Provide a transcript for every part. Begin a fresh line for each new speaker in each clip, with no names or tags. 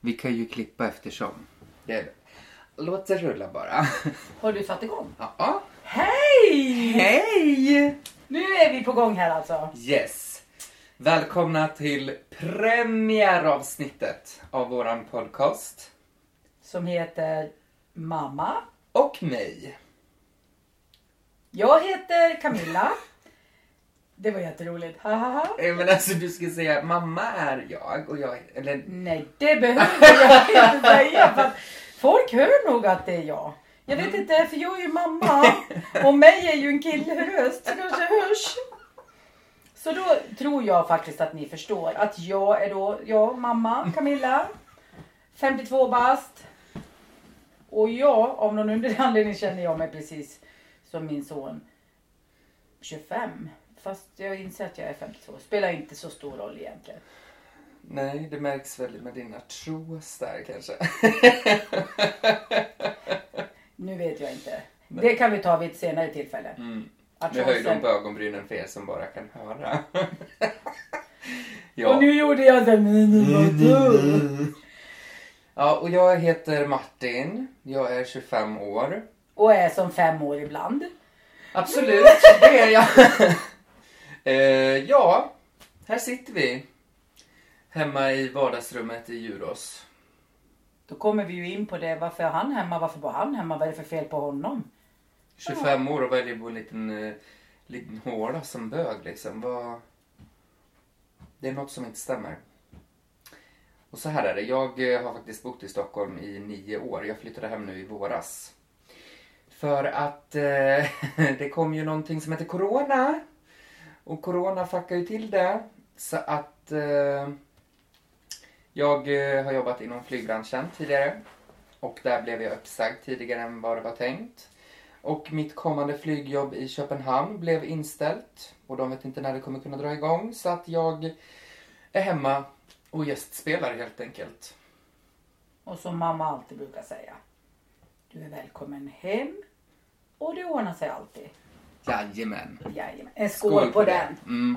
Vi kan ju klippa eftersom.
Det är det. Låt det rulla bara.
Har du satt igång?
Ja, ja.
Hej!
Hej!
Nu är vi på gång här alltså.
Yes! Välkomna till premiäravsnittet av våran podcast.
Som heter Mamma.
Och mig.
Jag heter Camilla. Det var jätteroligt. Ha, ha, ha.
Eh, Men alltså du ska säga mamma är jag och jag eller
Nej, det behöver jag inte säga. För att folk hör nog att det är jag. Jag vet inte, för jag är ju mamma. Och mig är ju en killröst. Det kanske hörs. Så då tror jag faktiskt att ni förstår att jag är då, jag, mamma, Camilla. 52 bast. Och jag, av någon underlig anledning känner jag mig precis som min son. 25. Fast jag inser att jag är 52. Spelar inte så stor roll egentligen.
nej det märks väl med dina tros där kanske.
Nu vet jag inte. Det kan vi ta vid ett senare tillfälle. Att
Nu höjer de
Johnson-
Mm. på ögonbrynen för er som bara kan höra.
Och nu gjorde jag den.
Mm, Ja, och jag heter Martin. Jag är 25 år.
Och är som fem år ibland.
Absolut, det är jag. eh, ja, här sitter vi. Hemma i vardagsrummet i Djurås.
Då kommer vi ju in på det. Varför är han hemma? Varför var han hemma? Vad är det för fel på honom?
25 år och väljer att bo i en liten, eh, liten håla som bög liksom. Vad... Det är något som inte stämmer. Och så här är det, jag eh, har faktiskt bott i Stockholm i nio år. Jag flyttade hem nu i våras. För att eh, det kom ju någonting som heter Corona. Och Corona fuckar ju till det. Så att eh, jag eh, har jobbat inom flygbranschen tidigare. Och där blev jag uppsagd tidigare än vad det var tänkt. Och mitt kommande flygjobb i Köpenhamn blev inställt. Och de vet inte när det kommer kunna dra igång. Så att jag är hemma och gästspelar helt enkelt.
Och som mamma alltid brukar säga. Du är välkommen hem. Och det ordnar sig alltid.
Jajamän.
Jajamän. En skål, på den.
Mm.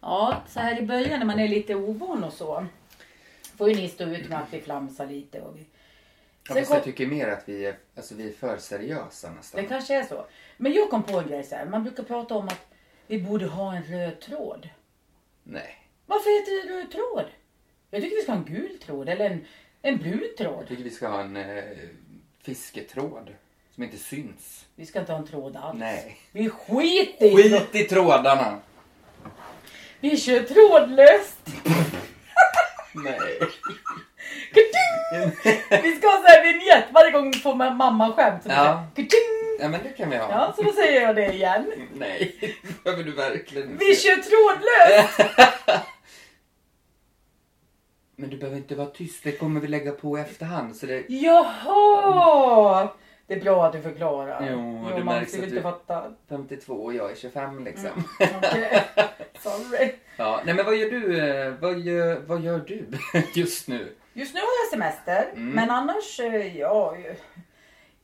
Ja, så här i början när man är lite ovan och så. Får ju ni stå ut med att vi flamsar lite. Och vi...
Ja,
Sen
fast
kom-
jag tycker mer att vi är, alltså, vi är för seriösa nästan.
Det kanske är så. Men jag kom på en grej så här. Man brukar prata om att vi borde ha en röd tråd.
Nej.
Varför heter det röd tråd? Jag tycker vi ska ha en gul tråd eller en, en brun
Jag
tråd.
tycker vi ska ha en eh, fisketråd. Som inte syns.
Vi ska inte ha en tråd alls.
Nej.
Vi skiter i tråd.
Skit i trådarna!
Vi kör trådlöst.
Nej.
Ka-ting! Vi ska ha så här vignett varje gång vi får man mamma-skämt. som
Ja.
säger ka-ting!
Ja men det kan vi ha.
Ja, så då säger jag det igen.
Nej, det behöver du verkligen inte.
Vi kör trådlöst!
Men du behöver inte vara tyst, det kommer vi lägga på i efterhand. Så det...
Jaha! Det är bra att du förklarar.
Jo, det
man
märks
skulle
att
inte
du-
fatta.
52 och jag är 25 liksom.
Mm. Okej. Sorry.
Ja, nej men vad gör du, eh, vad gör, vad gör du just nu?
Just nu har jag semester,
Mm.
men annars, eh, ja. eh,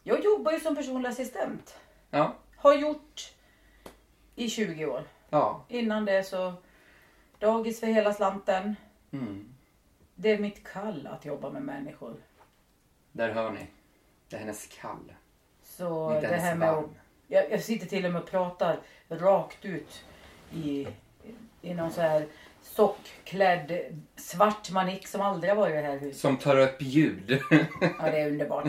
Jag jobbar ju som personlig assistent.
Ja,
Har gjort i 20 år.
ja.
Innan det så dagis för hela slanten.
Mm.
Det är mitt kall att jobba med människor.
Där hör ni. Det är hennes kall.
Så
Inte
det
ens
här med att,
varm.
jag, jag sitter till och med och pratar rakt ut i, i någon så här sockklädd svart manik som aldrig har varit i det här huset.
Som tar upp ljud.
Ja, det är underbart.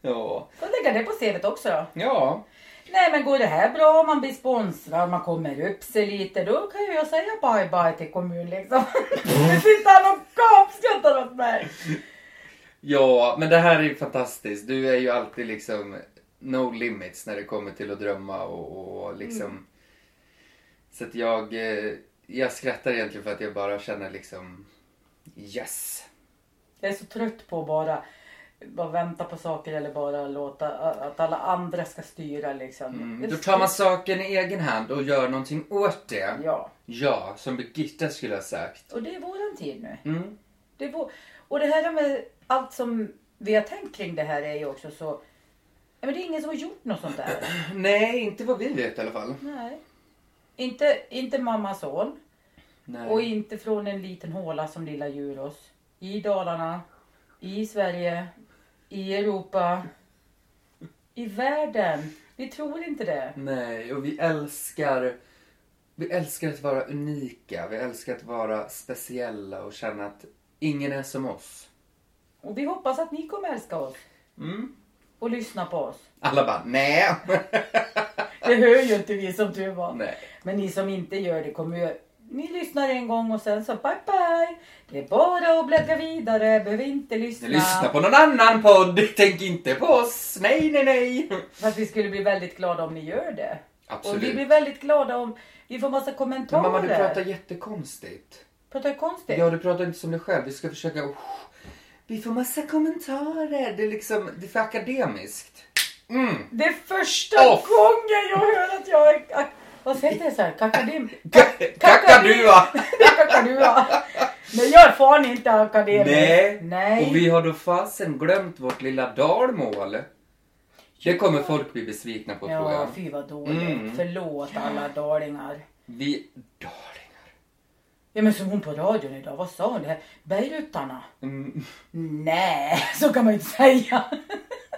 ja.
Får lägga det på CVt också då.
ja,
Nej men går det här bra, man blir sponsrad, man kommer upp sig lite, då kan ju jag säga bye bye till kommun liksom.
Mm.
Nu sitter han och gapskrattar åt mig.
ja, men det här är ju fantastiskt. Du är ju alltid liksom no limits när det kommer till att drömma och, och liksom.
Mm.
Så att jag, eh, jag skrattar egentligen för att jag bara känner liksom yes.
Jag är så trött på att bara, bara vänta på saker eller bara låta att alla andra ska styra liksom.
Mm, Då tar man saken i egen hand och gör någonting åt det.
Ja,
Ja, som Birgitta skulle ha sagt.
och det är våran tid nu.
Mm.
Det är vår... Och det här med allt som vi har tänkt kring det här är ju också så Men det är ingen som har gjort något sånt där.
Nej, inte vad vi vet i alla fall.
Nej. Inte, inte mamma och son.
Nej.
Och inte från en liten håla som lilla Djurås. I Dalarna, i Sverige, i Europa, i världen. Vi tror inte det.
Nej, och vi älskar vi älskar att vara unika, vi älskar att vara speciella och känna att ingen är som oss.
Och vi hoppas att ni kommer älska oss
Mm.
och lyssna på oss.
Alla bara nej.
Det hör ju inte vi som tur var.
nej.
Men ni som inte gör det kommer ju... Ni lyssnar en gång och sen så bye bye. Det är bara att bläddra vidare, behöver inte lyssna.
Lyssna på någon annan podd, tänk inte på oss. Nej, nej, nej.
Fast vi skulle bli väldigt glada om ni gör det.
Absolut.
Och vi blir väldigt glada om vi får massa
Men
kommentarer.
mamma, du pratar jättekonstigt.
Pratar jag konstigt?
Ja, du pratar inte som dig själv. Vi ska försöka... Oh, vi får massa kommentarer. Det är liksom, det är för akademiskt. Mm.
Det är första
Off.
gången jag hör att jag är... ak- Vad heter det så här? Kakadim?
Kakadua!
Det är Kakadua. Nej, jag är fan inte akademisk.
Nej.
Nej.
Och vi har då fasen glömt vårt lilla dalmål. Det kommer folk bli besvikna på tror
Ja,
jag.
fy vad dåligt.
Mm.
Förlåt alla dalingar.
Vi... Dalingar.
Ja men som hon på radion idag, vad sa hon? Det här? Beirutarna?
Mm.
Nej, så kan man ju inte säga.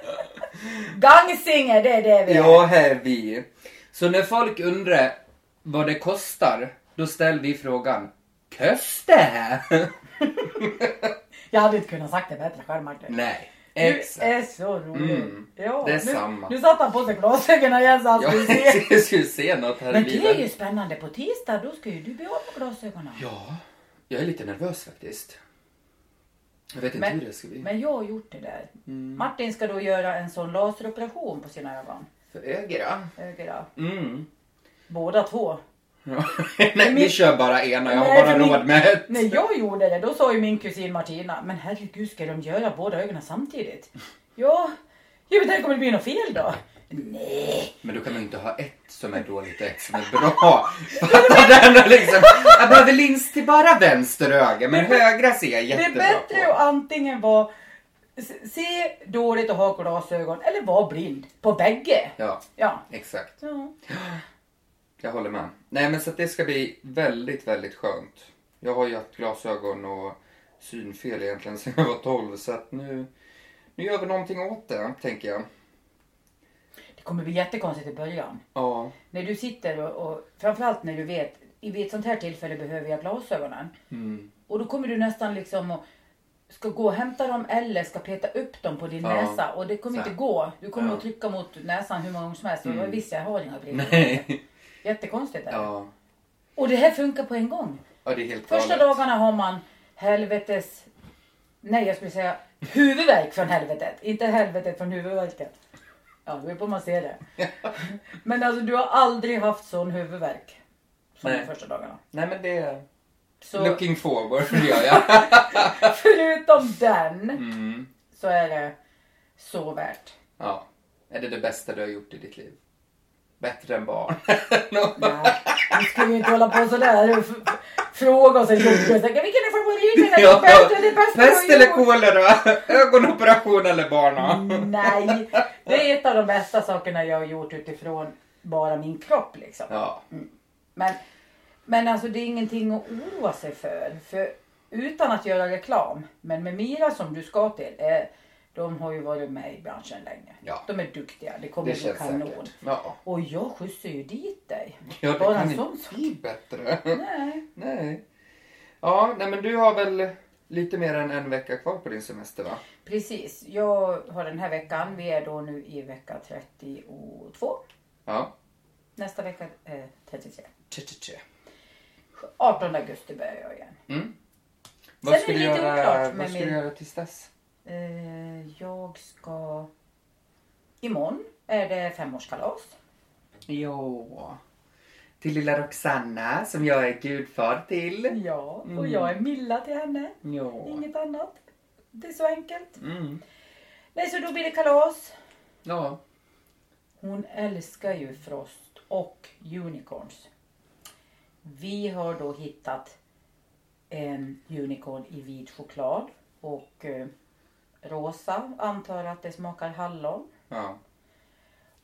Gangsinger, det är det vi är.
Ja, här är vi. Så när folk undrar vad det kostar, då ställer vi frågan. Köste?
Jag hade inte kunnat sagt det bättre själv Martin.
Nej,
Du
exakt.
är så rolig.
Mm,
Ja,
det är
nu,
samma.
Nu satte han på sig glasögonen igen så han
Ja,
skulle se.
jag skulle se något här
Men
i
det är
bilen.
ju spännande, på tisdag då ska ju du bli av med glasögonen.
Ja, jag är lite nervös faktiskt. Jag vet inte
Men-
hur det ska bli. Mm.
Men jag har gjort det där. Martin ska då göra en sån laseroperation på sina ögon.
För ögra?
Ögra.
Mm.
Båda två.
Ja. Nej, vi
min-
kör bara ena. Jag har
Nej,
bara
för min-
råd med ett.
När jag gjorde det då sa ju min kusin Martina, men herregud ska de göra båda ögonen samtidigt? Ja, ja men tänk om det blir något fel då? Nej,
Men då kan man inte ha ett som är dåligt och ett som är bra. Fattar den här liksom. Jag behöver lins till bara vänster öga, men högra ser jag
det är
jättebra
bättre
på.
att antingen vara se- se dåligt och ha glasögon eller vara blind på bägge.
Ja,
Ja.
exakt.
ja.
Jag håller med. Nej men så att det ska bli väldigt, väldigt skönt. Jag har ju haft glasögon och synfel egentligen sedan jag var 12 så att nu, nu gör vi någonting åt det, tänker jag.
Det kommer bli jättekonstigt i början.
Ja.
När du sitter och, och framförallt när du vet, i vid ett sånt här tillfälle behöver jag glasögonen.
Mm.
Och då kommer du nästan liksom och ska gå och hämta dem eller ska peta upp dem på din
Ja.
näsa. Och det kommer
Så här.
inte gå. Du kommer
Ja. Mm.
att trycka mot näsan hur många gånger som helst. Och jag visste jag har inga brillor.
Nej.
Jättekonstigt är det.
Ja.
Och det här funkar på en gång.
ja, det är helt
Första
galet.
dagarna har man helvetes... Nej, jag skulle säga huvudvärk från helvetet. Inte helvetet från huvudvärket. Ja, det beror på hur man ser det. Men alltså du har aldrig haft sån huvudvärk. Som
Nej.
de första dagarna.
Nej men det är...
Så
Looking forward gör jag.
förutom den.
Mm.
så är det så värt.
Ja. Är det det bästa du har gjort i ditt liv? Bättre än barn?
Nej, vi ska ju inte hålla på sådär och f- fråga oss en jobbig sak. Vilken är favoriten? Är det bäst eller det bästa
Pest
du har
eller
gjort?
kolera? Ögonoperation eller barn?
Nej, det är ett av de bästa sakerna jag har gjort utifrån bara min kropp liksom.
Ja.
Men, men alltså det är ingenting att oroa sig för. för. Utan att göra reklam, men med Mira som du ska till, eh, de har ju varit med i branschen länge.
Ja.
De är duktiga, det kommer
Det
bli
känns
kanon.
säkert. Ja.
Och jag skjutsar ju dit dig.
Ja, det
Bara
kan
en sån
inte
sak.
bli bättre.
Nej.
Nej. Ja, nej men du har väl lite mer än en vecka kvar på din semester va?
Precis. Jag har den här veckan, vi är då nu i vecka 32.
Ja.
Nästa vecka eh, 33.
Tje, tje, tje.
18 augusti börjar jag igen.
Mm.
är
Vad
det
ska du
lite
göra,
oklart
vad
med
ska du
min-
göra tills dess?
Eh, jag ska... Imorgon är det femårskalas.
Jo. Till lilla Roxanna som jag är gudfar till.
Ja, och jag är Milla till henne.
Jo.
Inget annat. Det är så enkelt.
Mm.
Nej, så då blir det kalas.
Ja.
Hon älskar ju Frost och Unicorns. Vi har då hittat en unicorn i vit choklad och eh, rosa. Antar att det smakar hallon.
ja.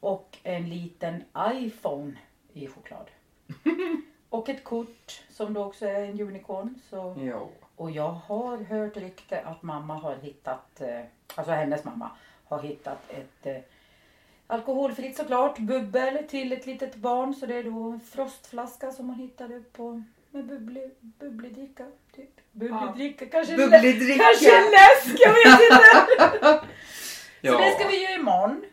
och en liten iPhone i choklad. och ett kort som då också är en unicorn. Så.
Jo.
Och jag har hört rykte att mamma har hittat, eh, alltså hennes mamma, har hittat ett eh, alkoholfritt såklart bubbel till ett litet barn. Så det är då en frostflaska som man hittade på med bubbli, bubbledricka. Typ. Bubbledricka, kanske, lä-
Bubbledricka.
kanske läsk, jag vet inte. Så det ska
Ja.
vi göra imorgon.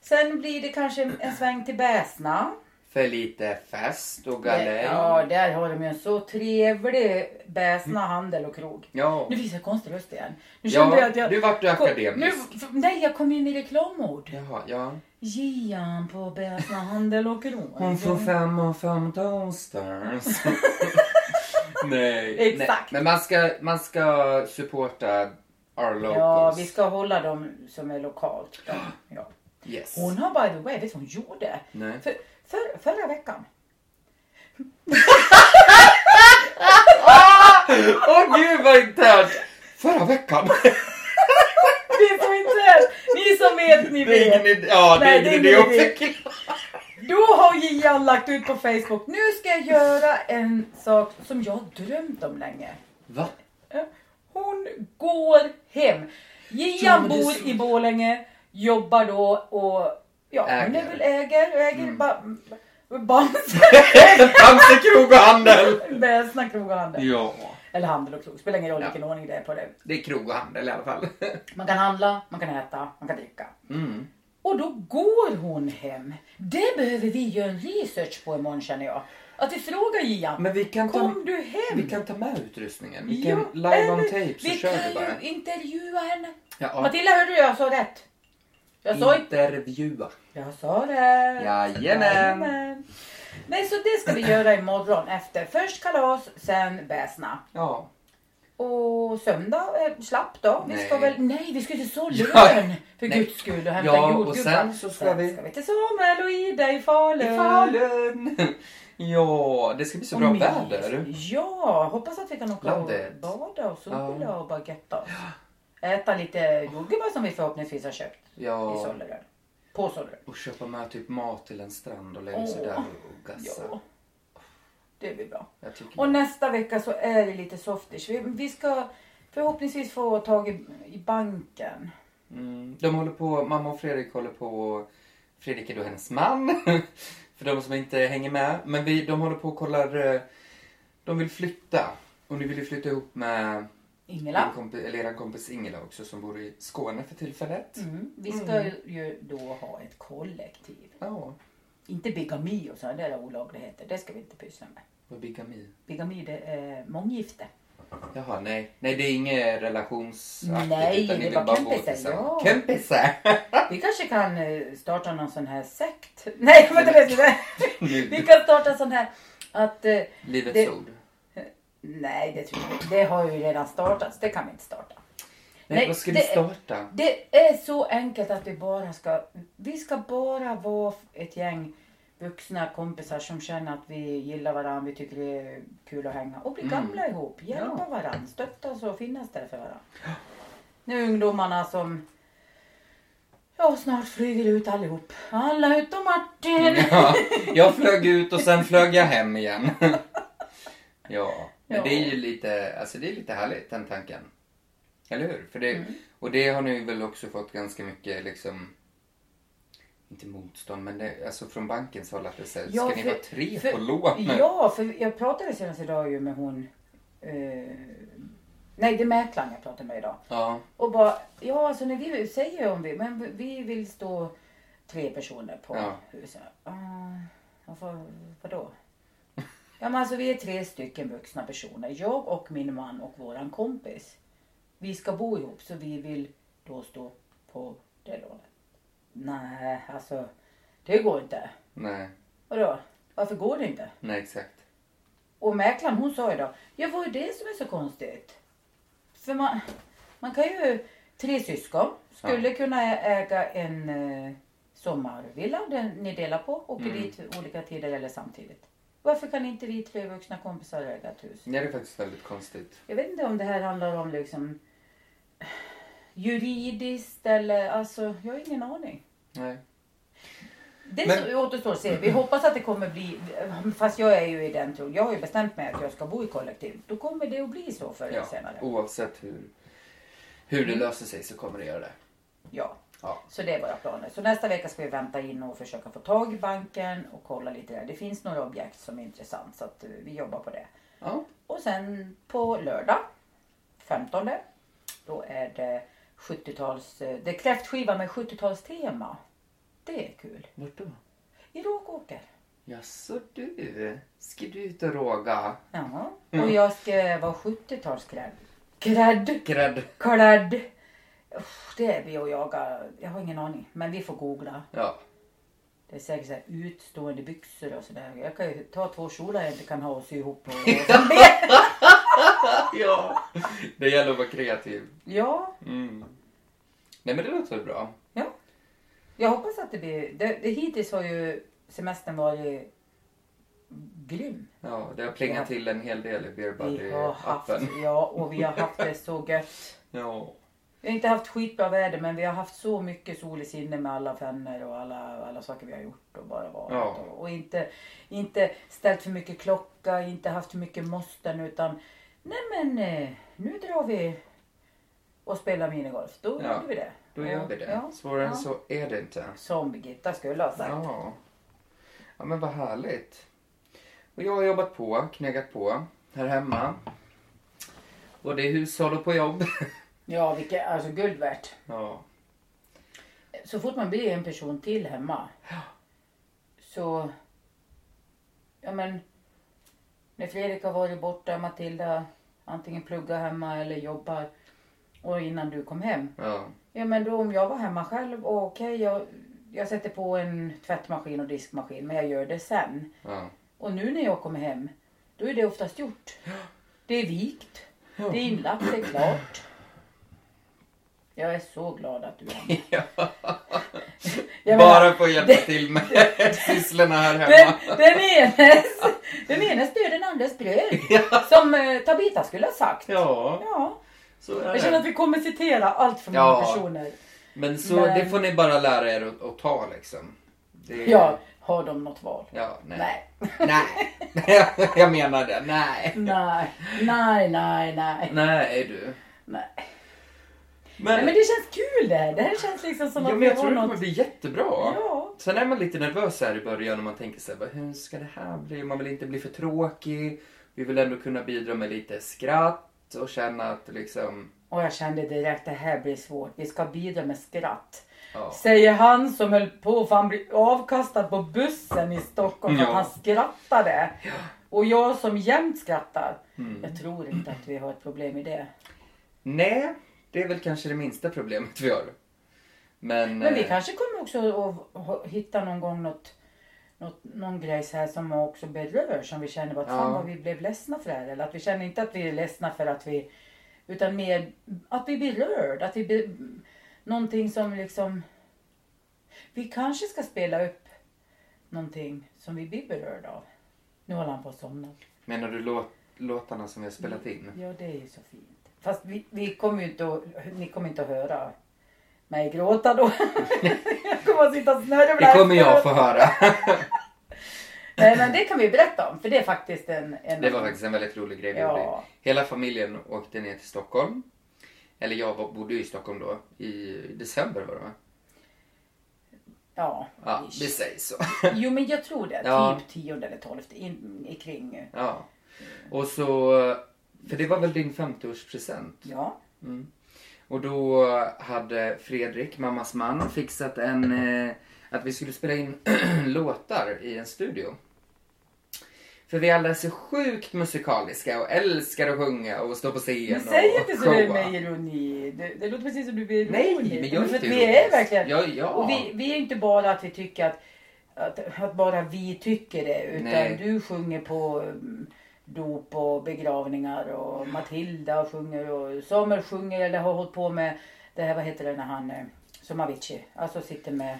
Sen blir det kanske en- en sväng till Bäsna.
För lite fest och galej.
Ja, där har de ju en så trevlig Bäsna handel och krog.
Ja.
Nu visar jag konstig röst igen. Nu kände jag
Ja,
att jag...
nu vart du
Kom-
akademisk.
Nu, f- nej, jag kom in i reklamord.
Jaha, ja.
Gian på Bäsna handel och krog.
Hon får fem av fem downstairs. nej.
Exakt.
Nej. Men man ska, man ska supporta our locals.
Ja, vi ska hålla dem som är lokalt. då. Ja.
Yes.
Hon har by the way, vet du vad hon gjorde?
Nej.
För, för, förra veckan.
Åh gud vad internt! Förra veckan.
Ni som inte är, ni som vet, ni
Det är
vet.
ingen idé. Ja, det
Nej,
är ingen idé att förklara.
Då har Gian lagt ut på Facebook. Nu ska jag göra en sak som jag har drömt om länge.
Va?
Hon går hem.
Ja,
Gian
men det är
bor
så-
i Borlänge, jobbar då och ja, hon är
Äger.
väl äger, äger mm. ba, Bamse,
Bamse krog och handel.
Bäsna krog och handel.
Ja.
Eller handel och krog, spelar ingen roll
Ja.
vilken ordning det är på det.
Det är krog och handel i alla fall.
Man kan handla, man kan äta, man kan dricka.
Mm.
Och då går hon hem. Det behöver vi göra en research på imorgon känner jag. Att vi frågar Gian.
Men vi kan ta,
Kom du hem?
vi kan ta med utrustningen. Vi kan
Ja,
live on
eller-
tape så
vi
kör
kan
du bara.
ju intervjua henne.
Ja,
Matilda, hörde du? Jag sa rätt. Jag sa, inte.
intervjua.
jag sa rätt.
Jajamän.
Nej, så det ska vi göra imorgon efter. Först kalas, sen bäsna.
Ja.
Och söndag, eh, slapp då. Vi ska
Nej.
väl, nej vi ska till Sollön. För
Nej.
guds skull och hämta
Ja, och
jordgubbar.
sen så ska
Sen
vi-
ska vi till Samuel och Ida i Falun.
Falun. Ja, det ska bli så
Och
bra
mys.
väder.
Ja, hoppas att vi kan åka och
Landet.
bada och sola
Ja.
och bara götta oss. Äta lite jordgubbar som vi förhoppningsvis har köpt i
Ja.
Sollerön. På Sollerön.
Och köpa med typ mat till en strand och lägga sig
Åh.
där och gassa.
Ja. Det blir bra.
Jag tycker
Och nästa vecka så är det lite softish. Vi, vi ska förhoppningsvis få tag i, i banken.
Mm, de håller på, mamma och Fredrik håller på, Fredrik är då hennes man, för de som inte hänger med. Men vi, de håller på och kollar, eh, de vill flytta. Och ni vill ju flytta ihop med
Ingela.
din kompi, eller er kompis Ingela också som bor i Skåne för tillfället.
Mm. Vi ska ju då ha ett kollektiv.
Ja,
Inte bigami och sådana där olagligheter. Det ska vi inte pyssla med.
vad bigami.
Bigami det är månggifte.
Jaha, nej. Nej, det är inget relationsaktigt.
Nej,
utan ni
det
vill
var
bara bo
kompisar,
tillsammans.
ja.
Kompisar!
Vi kanske kan eh, starta någon sån här sekt. Nej, vänta lite. Vi kan starta en sån här att... eh,
Livets
Det-
ord.
Nej, det tror jag inte. Det har ju redan startats. Det kan vi inte starta.
Nej,
Nej,
vad ska
det-
vi starta?
Det är så enkelt att vi bara ska... Vi ska bara vara ett gäng vuxna kompisar som känner att vi gillar varandra, vi tycker det är kul att hänga och bli
Mm.
gamla ihop. Hjälpa
Ja.
varandra, stöttas och finnas där för varandra. Nu ungdomarna som... Ja, snart flyger ut allihop. Alla utom Martin.
Ja, jag flög ut och sen flög jag hem igen. Ja, men
Ja.
det är ju lite, alltså det är lite härligt den tanken. Eller hur? För det,
Mm.
Och det har ni väl också fått ganska mycket liksom, inte motstånd, men det, alltså från bankens håll att det sägs,
Ja,
ska ni
för-
vara tre
för-
på lån?
Ja, för jag pratade senast idag ju med hon... Eh, nej, det är mäklaren jag pratade med idag.
Ja,
Och bara, ja alltså när vi säger om vi, men vi vill stå tre personer på
Ja.
huset. Uh, vad, vadå? Ja men alltså vi är tre stycken vuxna personer. Jag och min man och våran kompis. Vi ska bo ihop så vi vill då stå på det lånet. Nej, alltså det går inte.
nej,
Vadå? Varför går det inte?
nej exakt.
Och mäklaren hon sa ju då, ja vad är det som är så konstigt? För man, man kan ju, tre syskon skulle kunna ä- äga en eh, sommarvilla den ni delar på, åker
Mm.
dit vid olika tider eller samtidigt. Varför kan inte vi tre vuxna kompisar äga ett hus?
Ja, det är faktiskt väldigt konstigt.
Jag vet inte om det här handlar om liksom juridiskt eller alltså, jag har ingen aning.
Nej.
Det
Men-
så- återstår att se. Vi hoppas att det kommer bli, fast jag är ju i den tron. Jag har ju bestämt mig att jag ska bo i kollektiv. Då kommer det att bli så förr eller
Ja,
senare.
oavsett hur, hur det
Mm.
löser sig så kommer det göra det.
Ja.
Ja.
Så det är våra planer. Så nästa vecka ska vi vänta in och försöka få tag i banken och kolla lite där. Det finns några objekt som är intressant så att eh, vi jobbar på det.
ja.
Och sen på lördag 15 då är det 70-tals, eh, det är kräftskiva med 70-talstema. Det är kul.
Vart då?
I Rågåker.
Jaså du, ska du ut och råga?
Ja.
Mm.
Och jag ska vara 70-talsklädd. Klädd!
Grädd.
Klädd! Uff, Det är vi och jagar. Jag har ingen aning. Men vi får googla.
Ja.
Det är säkert så här utstående byxor och sådär. Jag kan ju ta två kjolar jag inte kan ha och sy ihop. Och...
ja. Det gäller att vara kreativ.
ja,
Mm. Nej men det låter väl bra.
jag hoppas att det blir... Det, det, hittills har ju semestern varit grym.
Ja, det har plingat till en hel del i
Vi har haft,
Beerbuddy-appen.
ja, och vi har haft det så gött.
Ja.
Vi har inte haft skitbra väder men vi har haft så mycket sol i sinne med alla vänner och alla, alla saker vi har gjort och bara varit.
Ja.
Och, och inte, inte ställt för mycket klocka, inte haft för mycket måsten utan nej men eh, nu drar vi och spelar minigolf. Då
Ja,
gjorde vi det.
Då
Ja,
gör vi det.
Ja,
Svårare än
ja.
så är det inte.
Som Birgitta skulle ha sagt.
Ja. ja, men vad härligt. Och jag har jobbat på, knegat på, här hemma. Och det är hushåll och på jobb.
Ja, vilket, alltså guld värt.
Ja,
Så fort man blir en person till hemma. Så... Ja men... När Fredrik har varit borta, Matilda antingen pluggar hemma eller jobbar. Och innan du kom hem.
ja,
Ja men då om jag var hemma själv och okej jag, jag sätter på en tvättmaskin och diskmaskin men jag gör det sen.
ja.
Och nu när jag kommer hem, då är det oftast gjort. Det är vikt,
Ja.
det är inlagt, det är klart. Jag är så glad att du är hemma. Jag menar,
Bara för att hjälpa till med sysslorna här
Den,
hemma.
den enes, den enes död, den andres bröd. Som eh, Tabita skulle ha sagt.
Ja,
Ja.
så är
Jag känner att
det.
vi kommer citera allt för många
Ja.
personer.
Men så
Men-
det får ni bara lära er att, att ta liksom. Det,
Ja, har de något val?
ja. Nej.
Nej.
Nej. jag menar det. Nej.
Nej, nej, nej, nej.
Nej du.
nej. Nej, men det känns kul det här. Det här känns liksom som
ja,
att
men
vi
jag tror
har
det kommer
något.
bli jättebra.
Ja.
Sen är man lite nervös här i början och man tänker så här, "Vad- hur ska det här bli? Man vill inte bli för tråkig. Vi vill ändå kunna bidra med lite skratt och känna att liksom...
Och jag kände direkt, det här blir svårt. Vi ska bidra med skratt.
Ja.
Säger han som höll på för han blev avkastad på bussen i Stockholm för
Ja.
att han skrattade. Och jag som jämt skrattar.
Mm.
Jag tror inte att vi har ett problem i det.
Nej, det är väl kanske det minsta problemet vi har. Men...
Men vi
eh,
kanske kommer också att ha- hitta någon gång något, något, någon grej så här som också berör som vi känner att
Ja.
fan vad vi blev ledsna för det här. Eller att vi känner inte att vi är ledsna för att vi utan mer att vi blir rörd. Att vi blir, någonting som liksom vi kanske ska spela upp någonting som vi blir berörda av. Nu håller han på att somna.
Menar du låt, låtarna som vi har spelat in?
Ja, det är ju så fint. Fast vi, vi kommer ju inte att, ni kommer inte att höra mig gråta då. jag kommer att sitta och snörvla.
Det kommer jag
efteråt.
få höra.
Nej, men det kan vi berätta om för det är faktiskt en... en
Det var faktiskt en väldigt rolig grej vi
Ja.
gjorde. Hela familjen åkte ner till Stockholm. Eller jag var- bodde ju i Stockholm då. I december var det va?
Ja.
Ja,
ish.
det sägs så.
Jo, men jag tror det.
Ja.
Typ tionde eller tolfte in, i kring.
Ja. Och så, för det var väl din 50-årspresent?
Ja.
Mm. Och då hade Fredrik, mammas man, fixat en, eh, att vi skulle spela in låtar i en studio. För vi alla är så sjukt musikaliska och älskar att sjunga och stå på
Men
scen
säg
och
inte så där
showa.
med ironi. Det, det låter precis som du blir
Nej,
ironisk.
men jag är
för
inte
att vi är
ironisk.
verkligen...
Ja, ja.
Och vi, vi är inte bara att vi tycker att, att, att bara vi tycker det. Utan
Nej.
du sjunger på mm, dop och begravningar och Matilda sjunger och Samuel sjunger eller har hållit på med det här, vad heter det när han, eh, som Avicii, alltså sitter med,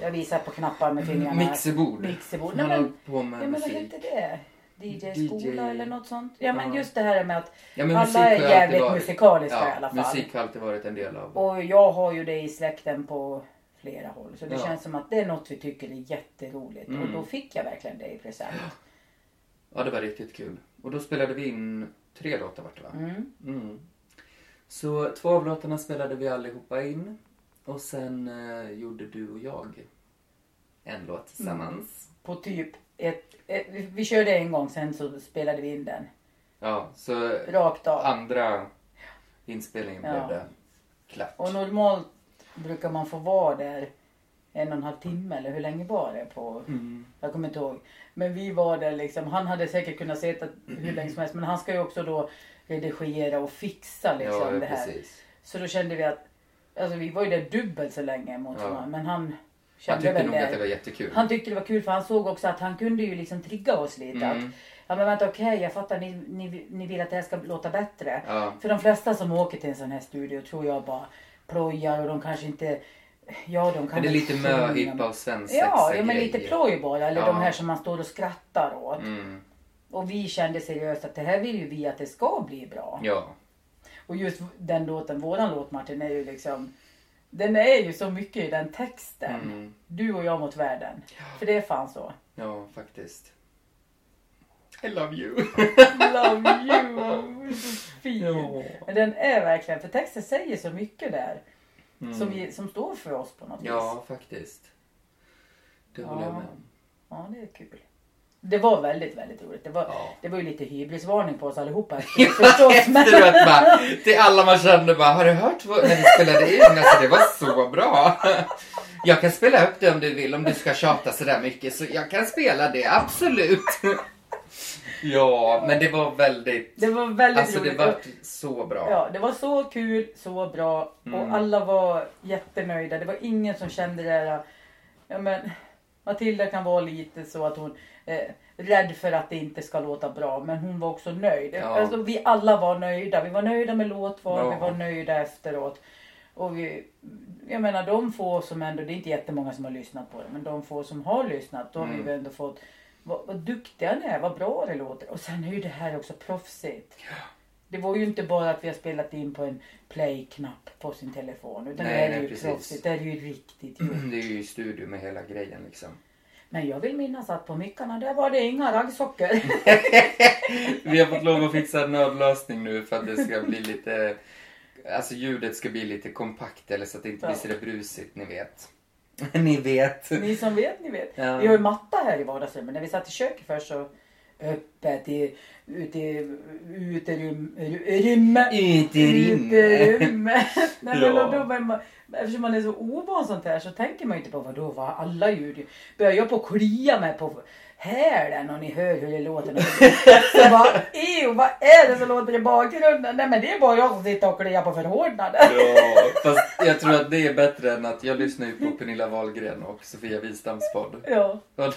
jag visar på knappar med fingrarna.
Mixerbord.
Mixerbord. Nej,
Man håller
men,
på
ja,
med
men vad
musik.
heter det? DJ-skola
DJ.
eller något sånt. Ja men
Ja.
just det här med att
Ja, men
alla
musik har
är
alltid
jävligt
varit-
musikaliska
ja,
i alla fall.
Musik har alltid varit en del av
Och jag har ju det i släkten på flera håll. Så det
Ja.
känns som att det är något vi tycker är jätteroligt. Och
Mm.
då fick jag verkligen det i present.
Ja, det var riktigt kul. Och då spelade vi in tre låtar vart det va?
Mm.
Mm. Så två av låtarna spelade vi allihopa in. Och sen eh, gjorde du och jag en
Mm.
låt tillsammans.
På typ ett, ett, vi- vi körde en gång sen så spelade vi in den.
Ja, så
Rakt av.
andra inspelningen
Ja.
blev det klart.
Och normalt brukar man få vara där en och en halv timme eller hur länge var det? På,
Mm.
Jag kommer inte ihåg. Men vi var där liksom. Han hade säkert kunnat sitta hur länge som helst. Men han ska ju också då redigera och fixa liksom
ja,
det här.
precis.
Så då kände vi att, alltså vi var ju där dubbelt så länge mot
Ja.
honom. Men han
Han
kände
tyckte
väl
nog att det var
det.
jättekul.
Han tyckte det var kul för han såg också att han kunde ju liksom trigga oss lite.
Mm.
Att, ja men vänta okej jag fattar ni, ni, ni vill att det här ska låta bättre.
Ja.
För de flesta som åker till en sån här studio tror jag bara plojar och de kanske inte, ja de
Men
kan
det är
väl
lite
sjunga,
möhippa
men-
och svensexa
Ja, ja men
grejer.
lite ploj bara. Eller
Ja.
de här som man står och skrattar åt.
Mm.
Och vi kände seriöst att det här vill ju vi att det ska bli bra.
Ja.
Och just den låten, våran låt Martin, är ju liksom Den är ju så mycket i den texten.
Mm.
Du och jag mot världen. För det är fan så.
ja, faktiskt. I love you.
Love you! Så fin.
Ja.
Men den är verkligen, för texten säger så mycket där.
Mm.
Som, vi, som står för oss på något vis.
Ja, faktiskt. Det
Ja.
håller jag med om.
Ja, det är kul. Det var väldigt, väldigt roligt. Det var,
Ja.
det var ju lite hybrisvarning på oss allihopa. Förstås, men...
Efteråt bara, till alla man kände bara, har du hört vad, när vi spelade in? Alltså det var så bra. Jag kan spela upp det om du vill, om du ska tjata sådär mycket. Så jag kan spela det, absolut. Ja, men det var väldigt,
Det var väldigt
alltså det
roligt.
var så bra.
Ja, det var så kul, så bra
Mm.
och alla var jättenöjda. Det var ingen som kände det där, ja men Matilda kan vara lite så att hon eh, rädd för att det inte ska låta bra men hon var också nöjd.
Ja.
Alltså, vi alla var nöjda. Vi var nöjda med låtval,
Ja.
vi var nöjda efteråt. Och vi, jag menar de få som ändå, det är inte jättemånga som har lyssnat på det, men de få som har lyssnat då har vi
Mm.
väl ändå fått vad, vad duktiga ni är, vad bra det låter. Och sen är ju det här också proffsigt. Det var ju inte bara att vi har spelat in på en play-knapp på sin telefon. Utan
Nej,
det är
nej,
ju
precis. Mm.
proffsigt. Det är ju riktigt gjort.
Det är ju i studio med hela grejen liksom.
Men jag vill minnas att på mickarna där var det inga raggsockor.
Vi har fått lov att fixa en nödlösning nu för att det ska bli lite, alltså ljudet ska bli lite kompakt eller så att det inte blir
Ja.
så där brusigt, ni vet. Ni vet.
ni som vet, ni vet.
Ja.
Vi har ju matta här i vardagsrummet. När vi satt i köket först så öppet i, ute i uterum, rymme.
Uterum.
Uterumme. Nej, men
Ja.
och då man, eftersom man är så ovan sånt här så tänker man ju inte på vadå, vad alla ljud. Börjar jag på att klia mig på hälen och ni hör hur det låter. så bara, ew, vad är det som låter i bakgrunden? Nej men det är bara jag som sitter och kliar på förhårdnaden.
Ja, fast jag tror att det är bättre än att jag lyssnar ju på Pernilla Wahlgren och Sofia Wistams podd.
Ja.
Och,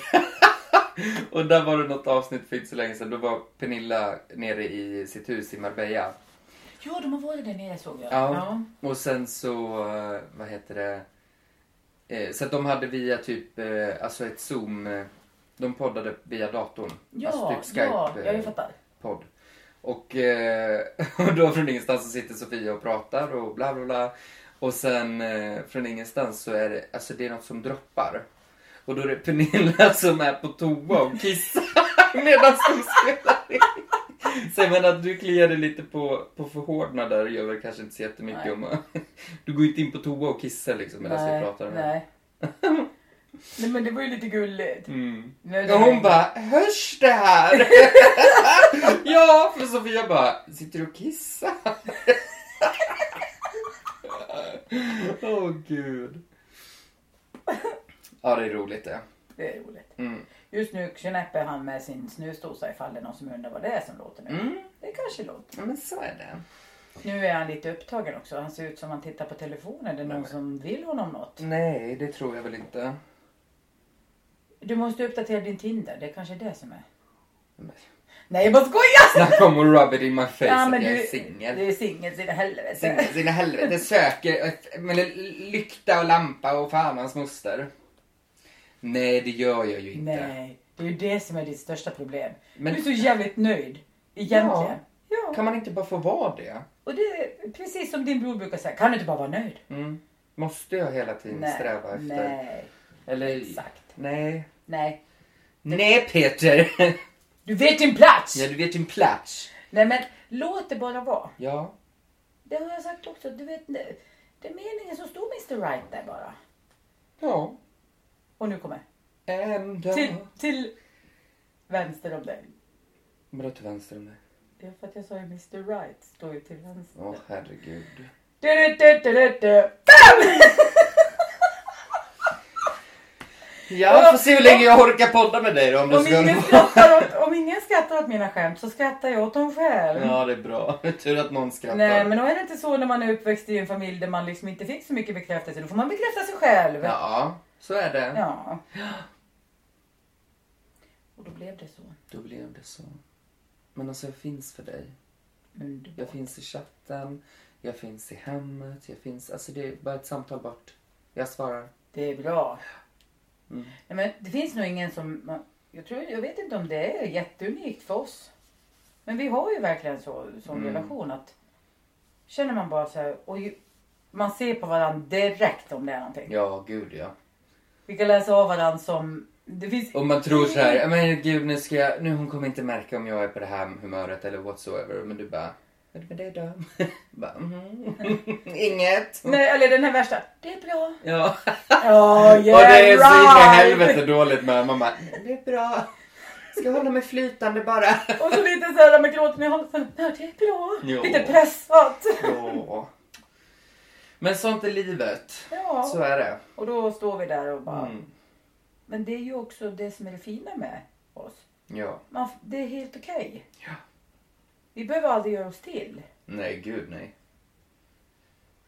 och där var det något avsnitt för inte så länge sedan. Då var Pernilla nere i sitt hus i Marbella.
ja, de har varit där nere såg jag.
Ja. Och sen så, eh, vad heter det? Eh, Så att de hade via typ, eh, alltså ett zoom, eh, de poddade via datorn.
Ja,
alltså typ Skype.
ja, ja,
eh,
jag fattar.
podd. Och, eh, och då från ingenstans så sitter Sofia och pratar och bla bla bla. Och sen eh, från ingenstans så är det, alltså det är något som droppar. Och då är det Pernilla som är på toa och kissar medan hon spelar in. Så jag menar att du kliar dig lite på, på förhårdnader gör väl kanske inte så jättemycket
Nej.
om Du går ju inte in på toa och kissar liksom medan vi pratar.
nej. nej men det var ju lite gulligt.
Mm.
Nej, det
Och
var
hon
ju-
bara, hörs det här? ja, för Sofia bara, sitter du och kissar? Åh gud. Ja, det är roligt det.
Det är roligt.
Mm.
Just nu knäpper han med sin snusdosa ifall det är någon som undrar vad det är som låter nu.
Mm.
Det kanske låter.
Ja, men så är det.
Nu är han lite upptagen också. Han ser ut som han tittar på telefonen. Är det någon
men- Mm.
som vill honom något?
Nej, det tror jag väl inte.
Du måste uppdatera din Tinder. Det är kanske är det som är.
Men-
Nej, jag bara skojar!
Snacka om att rub it in my face
Ja,
att
men
jag
du-
är singel.
Du är singel så in i helvete.
Singel sina helvete söker ett- med lykta och lampa och fan hans moster. Nej, det gör jag ju inte.
Nej, det är ju det som är ditt största problem.
Men-
Du är så jävligt nöjd. Egentligen. Ja.
Kan man inte bara få vara det?
Och det är precis som din bror brukar säga. Kan du inte bara vara nöjd?
Mm. Måste jag hela tiden Mm, sträva efter?
nej,
Eller,
exakt.
Nej.
Nej.
Nej Peter!
Du vet din plats!
ja, du vet din plats.
Nej men låt det bara vara.
Ja.
Det har jag sagt också. Du vet, det det är meningen som står Mr Right där bara.
Ja.
Och nu kommer.
En dag.
Till, till vänster om dig.
Vadå till vänster om dig?
Det är för att jag sa ju Mr Right står ju till vänster.
Åh herregud.
Du, du, du, du, du, du. Bam!
Ja, får se hur länge jag orkar podda med dig då om du
Om
ska...
ingen, skrattar åt, om ingen skrattar åt mina skämt så skrattar jag åt dem själv.
Ja, det är bra. Tur att någon skrattar.
Nej men då är det inte så när man är uppväxt i en familj där man liksom inte fick så mycket bekräftelse. Då får man bekräfta sig själv.
Ja, så är det.
Ja. Och då blev det så.
Då blev det så. Men alltså jag finns för dig.
Men du,
Jag finns i chatten, jag finns i hemmet, jag finns... Alltså det är bara ett samtal bort. Jag svarar.
det är bra.
Mm.
Nej, men det finns nog ingen som... man- Jag, tror, jag vet inte om det är jätteunikt för oss. Men vi har ju verkligen så, sån
Mm.
relation att... Känner man bara så här... Och ju, man ser på varandra direkt om det är någonting.
Ja, gud ja.
Vi kan läsa av varandra som... Det finns
Och man tror så här, men gud nu ska jag, nu hon kommer inte märka om jag är på det här humöret eller whatsoever. Men du bara, vad är det med dig då? bara, mhm. Inget.
Nej, eller den här värsta. Det är bra.
Ja.
Ja,
och
yeah,
det är så in i
right.
helvete dåligt med. Man bara, det är bra. Ska hålla mig flytande bara.
Och så lite så här med gråten i halsen. Ja, det är bra.
Jo.
Lite pressat.
Ja. Men sånt är livet. Så
Ja.
är det.
Och då står vi där och bara.
Mm.
Men det är ju också det som är det fina med oss.
Ja.
Man, f- det är helt okej.
Ja.
Vi behöver aldrig göra oss till.
Nej, gud nej.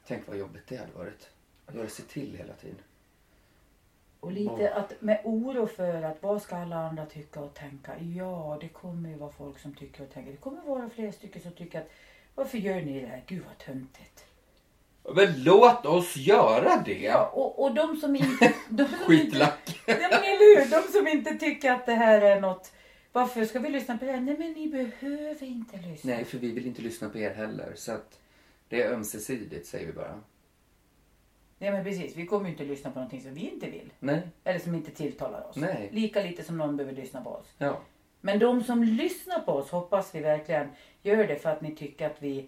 Tänk vad jobbigt det hade varit. Att göra sig till hela tiden.
Och lite att med oro för att vad ska alla andra tycka och tänka? Ja, det kommer ju vara folk som tycker och tänker. Det kommer vara fler stycken som tycker att varför gör ni det här? Gud vad töntigt.
Men låt oss göra det.
Ja, och, och de som inte... De som inte
Skitlack.
Nej, men eller hur? De som inte tycker att det här är något... Varför ska vi lyssna på det här? Nej men ni behöver inte lyssna.
Nej, för vi vill inte lyssna på er heller. Så att det är ömsesidigt säger vi bara.
Nej men precis, vi kommer ju inte lyssna på någonting som vi inte vill.
Nej.
Eller som inte tilltalar oss.
Nej.
Lika lite som någon behöver lyssna på oss.
Ja.
Men de som lyssnar på oss hoppas vi verkligen gör det för att ni tycker att vi,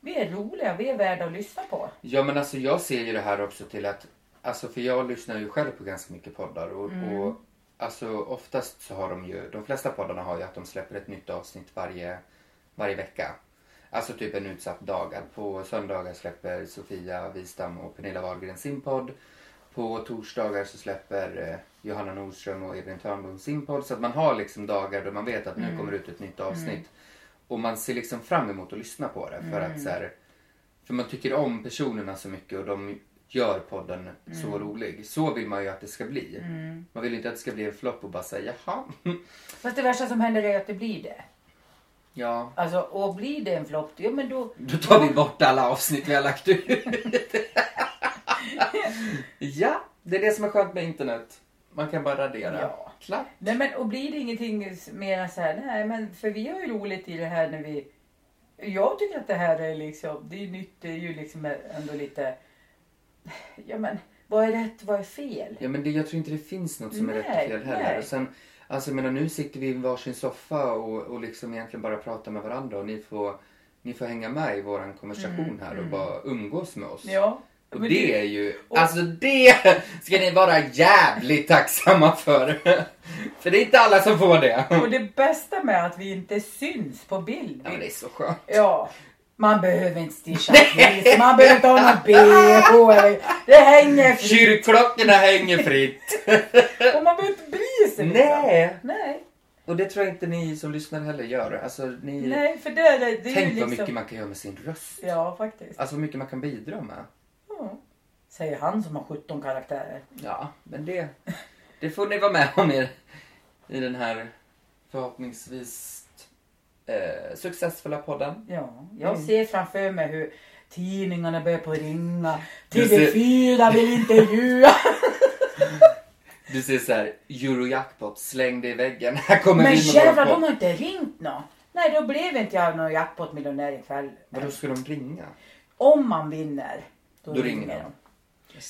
vi är roliga, vi är värda att lyssna på.
Ja men alltså jag ser ju det här också till att, alltså för jag lyssnar ju själv på ganska mycket poddar och, och alltså oftast så har de ju, de flesta poddarna har ju att de släpper ett nytt avsnitt varje, varje vecka. Alltså typ en utsatt dag. Att På söndagar släpper Sofia Wistam och Pernilla Wahlgren sin podd. På torsdagar så släpper eh, Johanna Nordström och Edvin Törnblom sin podd. Så att man har liksom dagar då man vet att nu kommer det ut ett nytt avsnitt. Och man ser liksom fram emot att lyssna på det för att så här, för man tycker om personerna så mycket och de gör podden
Mm.
så rolig. Så vill man ju att det ska bli. Man vill inte att det ska bli en flopp och bara säga jaha.
Fast det värsta som händer är att det blir det.
Ja.
Alltså, och blir det en flopp, ja men då...
Då tar vi bort alla avsnitt vi har lagt ut. ja, det är det som är skönt med internet. Man kan bara radera.
Ja.
Klart.
Nej men och blir det ingenting s- mer så här, nej men för vi har ju roligt i det här när vi... Jag tycker att det här är liksom, det är ju nytt, det är ju liksom ändå lite... Ja men, vad är rätt, vad är fel?
Ja, men det, jag tror inte det finns något som är rätt
Nej,
och fel heller.
nej.
Och sen, alltså, jag menar, nu sitter vi i varsin soffa och, och liksom egentligen bara pratar med varandra och ni får, ni får hänga med i våran konversation här och bara umgås med oss.
Mm, Ja.
Och
men
det är ju,
och-
alltså det ska ni vara jävligt tacksamma för. För det är inte alla som får det.
Och det bästa med att vi inte syns på bild.
Ja men det är så skönt.
Ja. Man behöver inte stischa flis, man behöver inte ha någon bh eller... Det hänger fritt.
Kyrkklockorna hänger fritt.
Och man behöver inte bry
Typ.
sig liksom.
Nej.
Nej.
Och det tror jag inte ni som lyssnar heller gör. Alltså ni,
Nej, för det är det, det är
tänk
ju
vad
liksom...
mycket man kan göra med sin röst.
Ja, faktiskt.
Alltså vad mycket man kan bidra med.
Ja. Säger han som har 17 karaktärer.
Ja, men det, det får ni vara med om i, i den här förhoppningsvis eh, successfulla podden.
Ja, jag
Mm.
ser framför mig hur tidningarna börjar på att ringa.
Du ser-
TV4 vill intervjua.
Du ser så här, Eurojackpot, släng dig i väggen. Här kommer
Men
vi med
jävlar,
vår
de
podd.
har inte ringt nå. Nej, då blev inte jag någon jackpot-miljonär ikväll.
Vadå ska de ringa?
Om man vinner, då,
Då ringer de.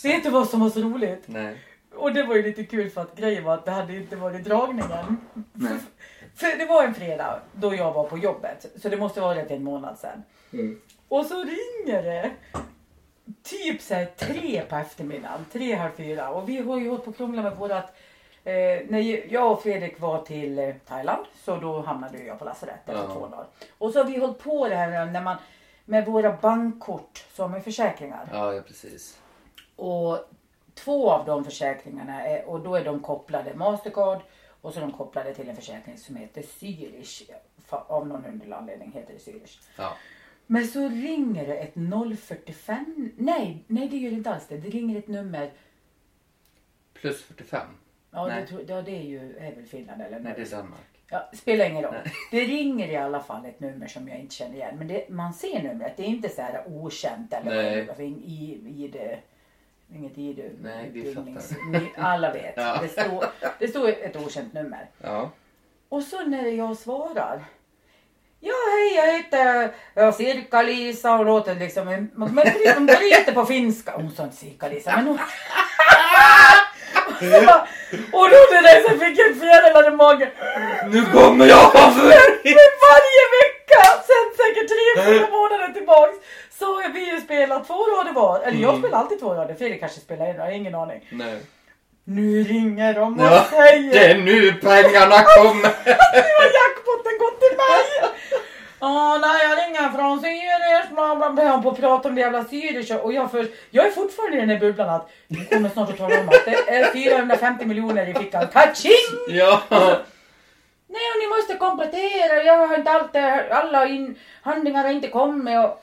Vet du vad som var så roligt?
Nej.
Och det var ju lite kul för att grejen var att det hade ju inte varit dragningen.
Nej.
För det var en fredag då jag var på jobbet. Så det måste vara rätt en månad sedan.
Mm.
Och så ringer det. Typ så här tre på eftermiddagen. Tre, halv fyra. Och vi har ju hållit på och krånglat med vårat... Eh, när jag och Fredrik var till eh, Thailand så då hamnade ju jag på lasarett efter
Ja.
två dagar. Och så har vi hållit på det här när man... Med våra bankkort som är försäkringar.
Ja, ja, precis.
Och två av de försäkringarna är, och då är de kopplade Mastercard och så är de kopplade till en försäkring som heter Zürich. Fa- Av någon underlig anledning heter det Zürich.
Ja.
Men så ringer det ett 045. Nej, nej det gör det inte alls det. Det ringer ett nummer.
Plus 45.
Ja, det,
Nej.
tror- ja det är ju är väl Finland eller
Nej, det är
Norge.
Danmark.
Ja, spelar ingen roll. Det ringer i alla fall ett nummer som jag inte känner igen. Men det, man ser numret. Det är inte så här okänt eller vad
Nej.
det är. Alltså, in- i, i det. Inget i det.
Nej, vi
utbildnings-
fattar.
ni- Alla vet.
Ja.
Det, står, det står ett okänt nummer.
Ja.
Och så när jag svarar. Ja hej jag heter ja, Sirkka-Lisa och låter liksom, men men precis, hon bryter på finska. Hon sa inte Sirkka-Lisa men hon... och då det där så fick jag en fjäril i magen.
Nu kommer jag för
Men varje vecka sen säkert tre, fyra månader tillbaks så har vi ju spelat två rader var. Eller jag
Mm.
spelar alltid två rader, Fredrik kanske spelar en, jag har ingen aning.
Nej.
Nu ringer de och
Ja, det
säger
är nu pengarna kommer.
nu har jackpotten gått till mig. Ja, nej jag ringer från Zürich, bla bla bla, på att prata om det jävla Zürich och jag för, jag är fortfarande i den här bubblan att vi kommer snart att tala om att det är 450 miljoner i fickan, kaching!
Ja.
Nej, och ni måste komplettera. Jag har inte allt det här. Alla in, handlingar har inte kommit. Och...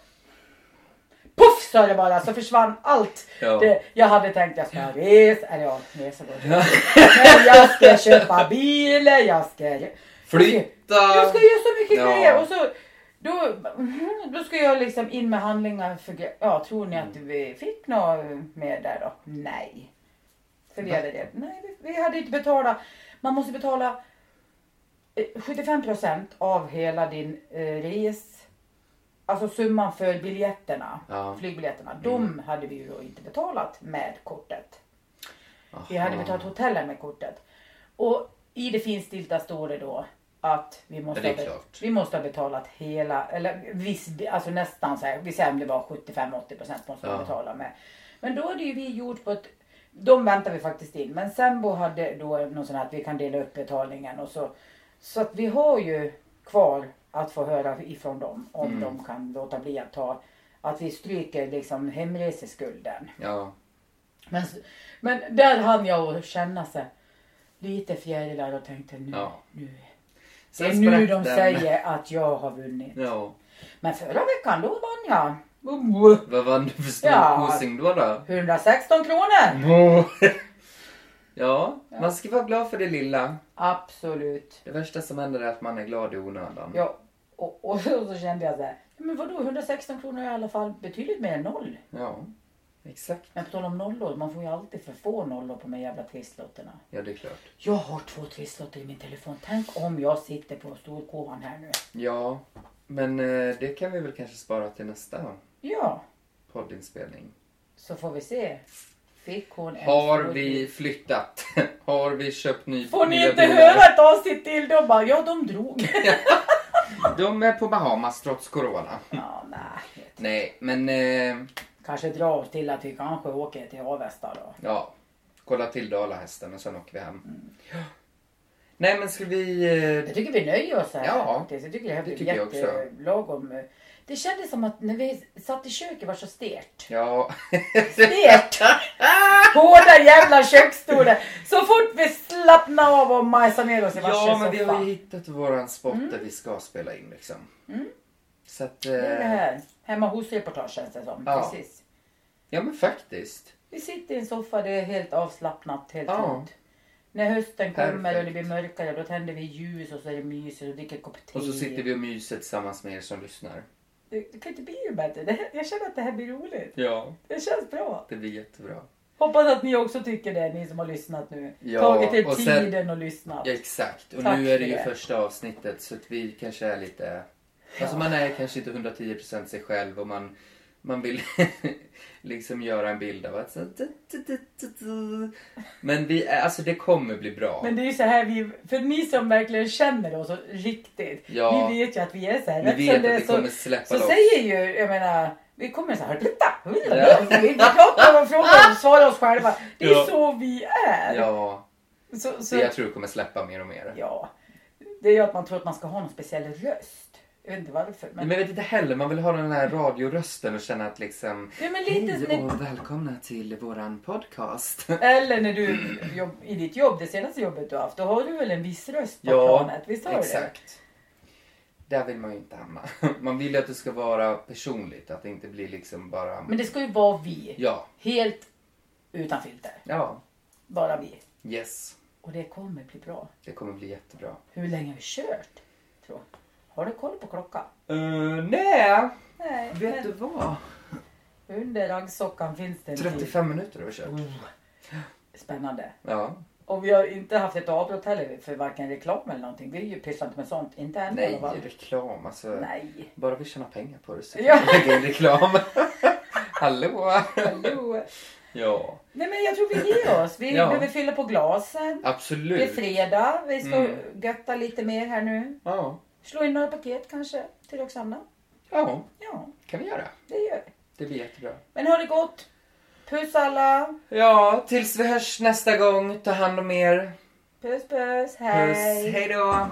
Puff sa det bara så försvann allt.
Ja.
Det, jag hade tänkt jag ska resa. Eller ja, resa går inte. Men jag ska köpa bil. Jag ska...
Flytta.
Jag ska göra så mycket
Alltså, Ja.
grejer. Och så, då, då ska jag liksom in med handlingar. För, gre- ja, tror ni att vi fick något mer där då? Nej. För vi
Va?
hade det. Nej, vi- vi hade inte betalat. Man måste betala eh, 75% av hela din eh, res. Alltså summan för biljetterna,
Ja. Mm.
flygbiljetterna. De hade vi ju då inte betalat med kortet. Vi hade
Aha.
betalat hotellen med kortet. Och i det finstilta står det då att vi
Ja,
måste,
det är
ha, be-
klart.
vi måste ha betalat hela, eller viss, alltså nästan så här, vi säger om det var 75-80 procent måste vi
Ja.
betala med. Men då hade ju vi gjort på ett, de väntar vi faktiskt in, men Sembo hade då någon sån här att vi kan dela upp betalningen och så. Så att vi har ju kvar att få höra ifrån dem om
Mm.
de kan låta bli att ta, att vi stryker liksom hemreseskulden.
Ja.
Men, men där hann jag att känna sig lite fjärilar och tänkte nu,
Ja.
nu. Det är
Sen
nu
sprack
de
den.
säger att jag har vunnit.
Ja.
Men förra veckan då vann jag.
Vad vann du för stor
Ja.
kosing då då?
116 kronor!
Nå. Ja, man ska vara glad för det lilla.
Absolut.
Det värsta som händer är att man är glad i onödan.
Ja. Och, och så kände jag så här. Men vadå 116 kronor är i alla fall betydligt mer än noll.
Ja, exakt.
Men på tal om nollor, man får ju alltid för få nollor på de här jävla trisslotterna.
Ja, det är klart.
Jag har två trisslotter i min telefon. Tänk om jag sitter på storkovan här nu.
Ja, men eh, det kan vi väl kanske spara till nästa
Ja.
poddinspelning.
Så får vi se. Fick hon en
Har
stor
vi
bil?
flyttat? Har vi köpt ny,
Får ni
nya
inte höra ett avsnitt till? De bara, ja de drog.
De är på Bahamas trots corona.
ja, nej.
Nej, men eh,
Kanske dra oss till att vi kanske åker till Avesta då.
ja. Kolla till Dalahästen och sen åker vi hem.
Mm.
Ja. Nej, men ska vi... Eh,
Jag tycker vi nöjer oss här
Ja,
faktiskt. Jag tycker det här
det
blev
tycker jag också.
jättelagom. Det kändes som att när vi satt i köket var så stert.
ja.
Stert! Hårda jävla köksstolar. Så fort vi slappnade av och majsade ner oss i varsin
Ja, men vi
soffa.
har ju hittat våran spot där vi ska spela in liksom. Så att, eh,
Mm. Det är det här. Hemma hos-reportage känns det som.
Ja.
Precis.
ja men faktiskt.
Vi sitter i en soffa, det är helt avslappnat, helt
Ja.
lugnt. När hösten kommer och det
Perfekt.
blir mörkare då tänder vi ljus och så är det mysigt och dricker en kopp te.
Och så sitter vi och myser tillsammans med er som lyssnar.
Det, det kan inte bli bättre. Det här, jag känner att det här blir roligt.
Ja.
Det känns bra.
Det blir jättebra.
Hoppas att ni också tycker det, ni som har lyssnat nu.
Ja,
Tagit er
och sen-
tiden och lyssnat.
Ja, exakt. Och
Tack
nu är
för
det ju
det.
första avsnittet så att vi kanske är lite... Alltså man är kanske inte 110% sig själv och man Man vill liksom göra en bild av att så... Men vi, är- alltså det kommer bli bra.
Men det är ju så här vi, för ni som verkligen känner oss riktigt.
Ja.
Ni vet ju att vi är så här.
Ni vet att
rätt som det är
det kommer släppa
Så
loss.
säger ju, jag menar, vi kommer så här. Titta!
Ja.
Vi vi pratar och frågar och svarar oss själva. Det är
Ja.
så vi är.
Ja,
Så, så,
det jag tror kommer släppa mer och mer.
ja. Det gör att man tror att man ska ha någon speciell röst. Jag vet inte varför. Men,
Men jag vet inte heller, man vill ha den här radiorösten och känna att liksom...
ja, men lite
Hej
när-
och välkomna till våran podcast.
Eller när du jobb, i ditt jobb, det senaste jobbet du har haft, då har du väl en viss röst på planet? Visst har du det?
exakt. Där vill man ju inte hamna. Man vill ju att det ska vara personligt, att det inte blir liksom bara...
Men det ska ju vara vi.
Ja,
Helt utan filter.
ja,
Bara vi.
yes.
Och det kommer bli bra.
Det kommer bli jättebra.
Hur länge har vi kört? Tror. jag? Har du koll på klockan? Eh,
Uh, nej,
Nej,
vet du vad?
under raggsockan finns det en tid.
35 minuter har vi
Mm.
kört.
Spännande.
Ja.
Och vi har inte haft ett avbrott heller för varken reklam eller någonting. Vi är ju pysslar inte med sånt. Inte än i
Nej,
alla fall.
reklam alltså.
Nej.
Bara vi tjänar pengar på det så kan
Ja.
vi lägga in reklam. Hallå!
Hallå.
Ja,
Nej men jag tror vi ger oss. Vi
Ja.
behöver fylla på glasen. Det är
absolut.
fredag. Vi ska
Mm.
götta lite mer här nu.
Ja.
Slå in några paket kanske till Roxanna.
ja,
Ja,
kan vi göra.
det gör vi.
Det blir jättebra.
Men ha det gott. Puss alla.
Ja, tills vi hörs nästa gång. Ta hand om er.
Puss puss.
Puss, hej då!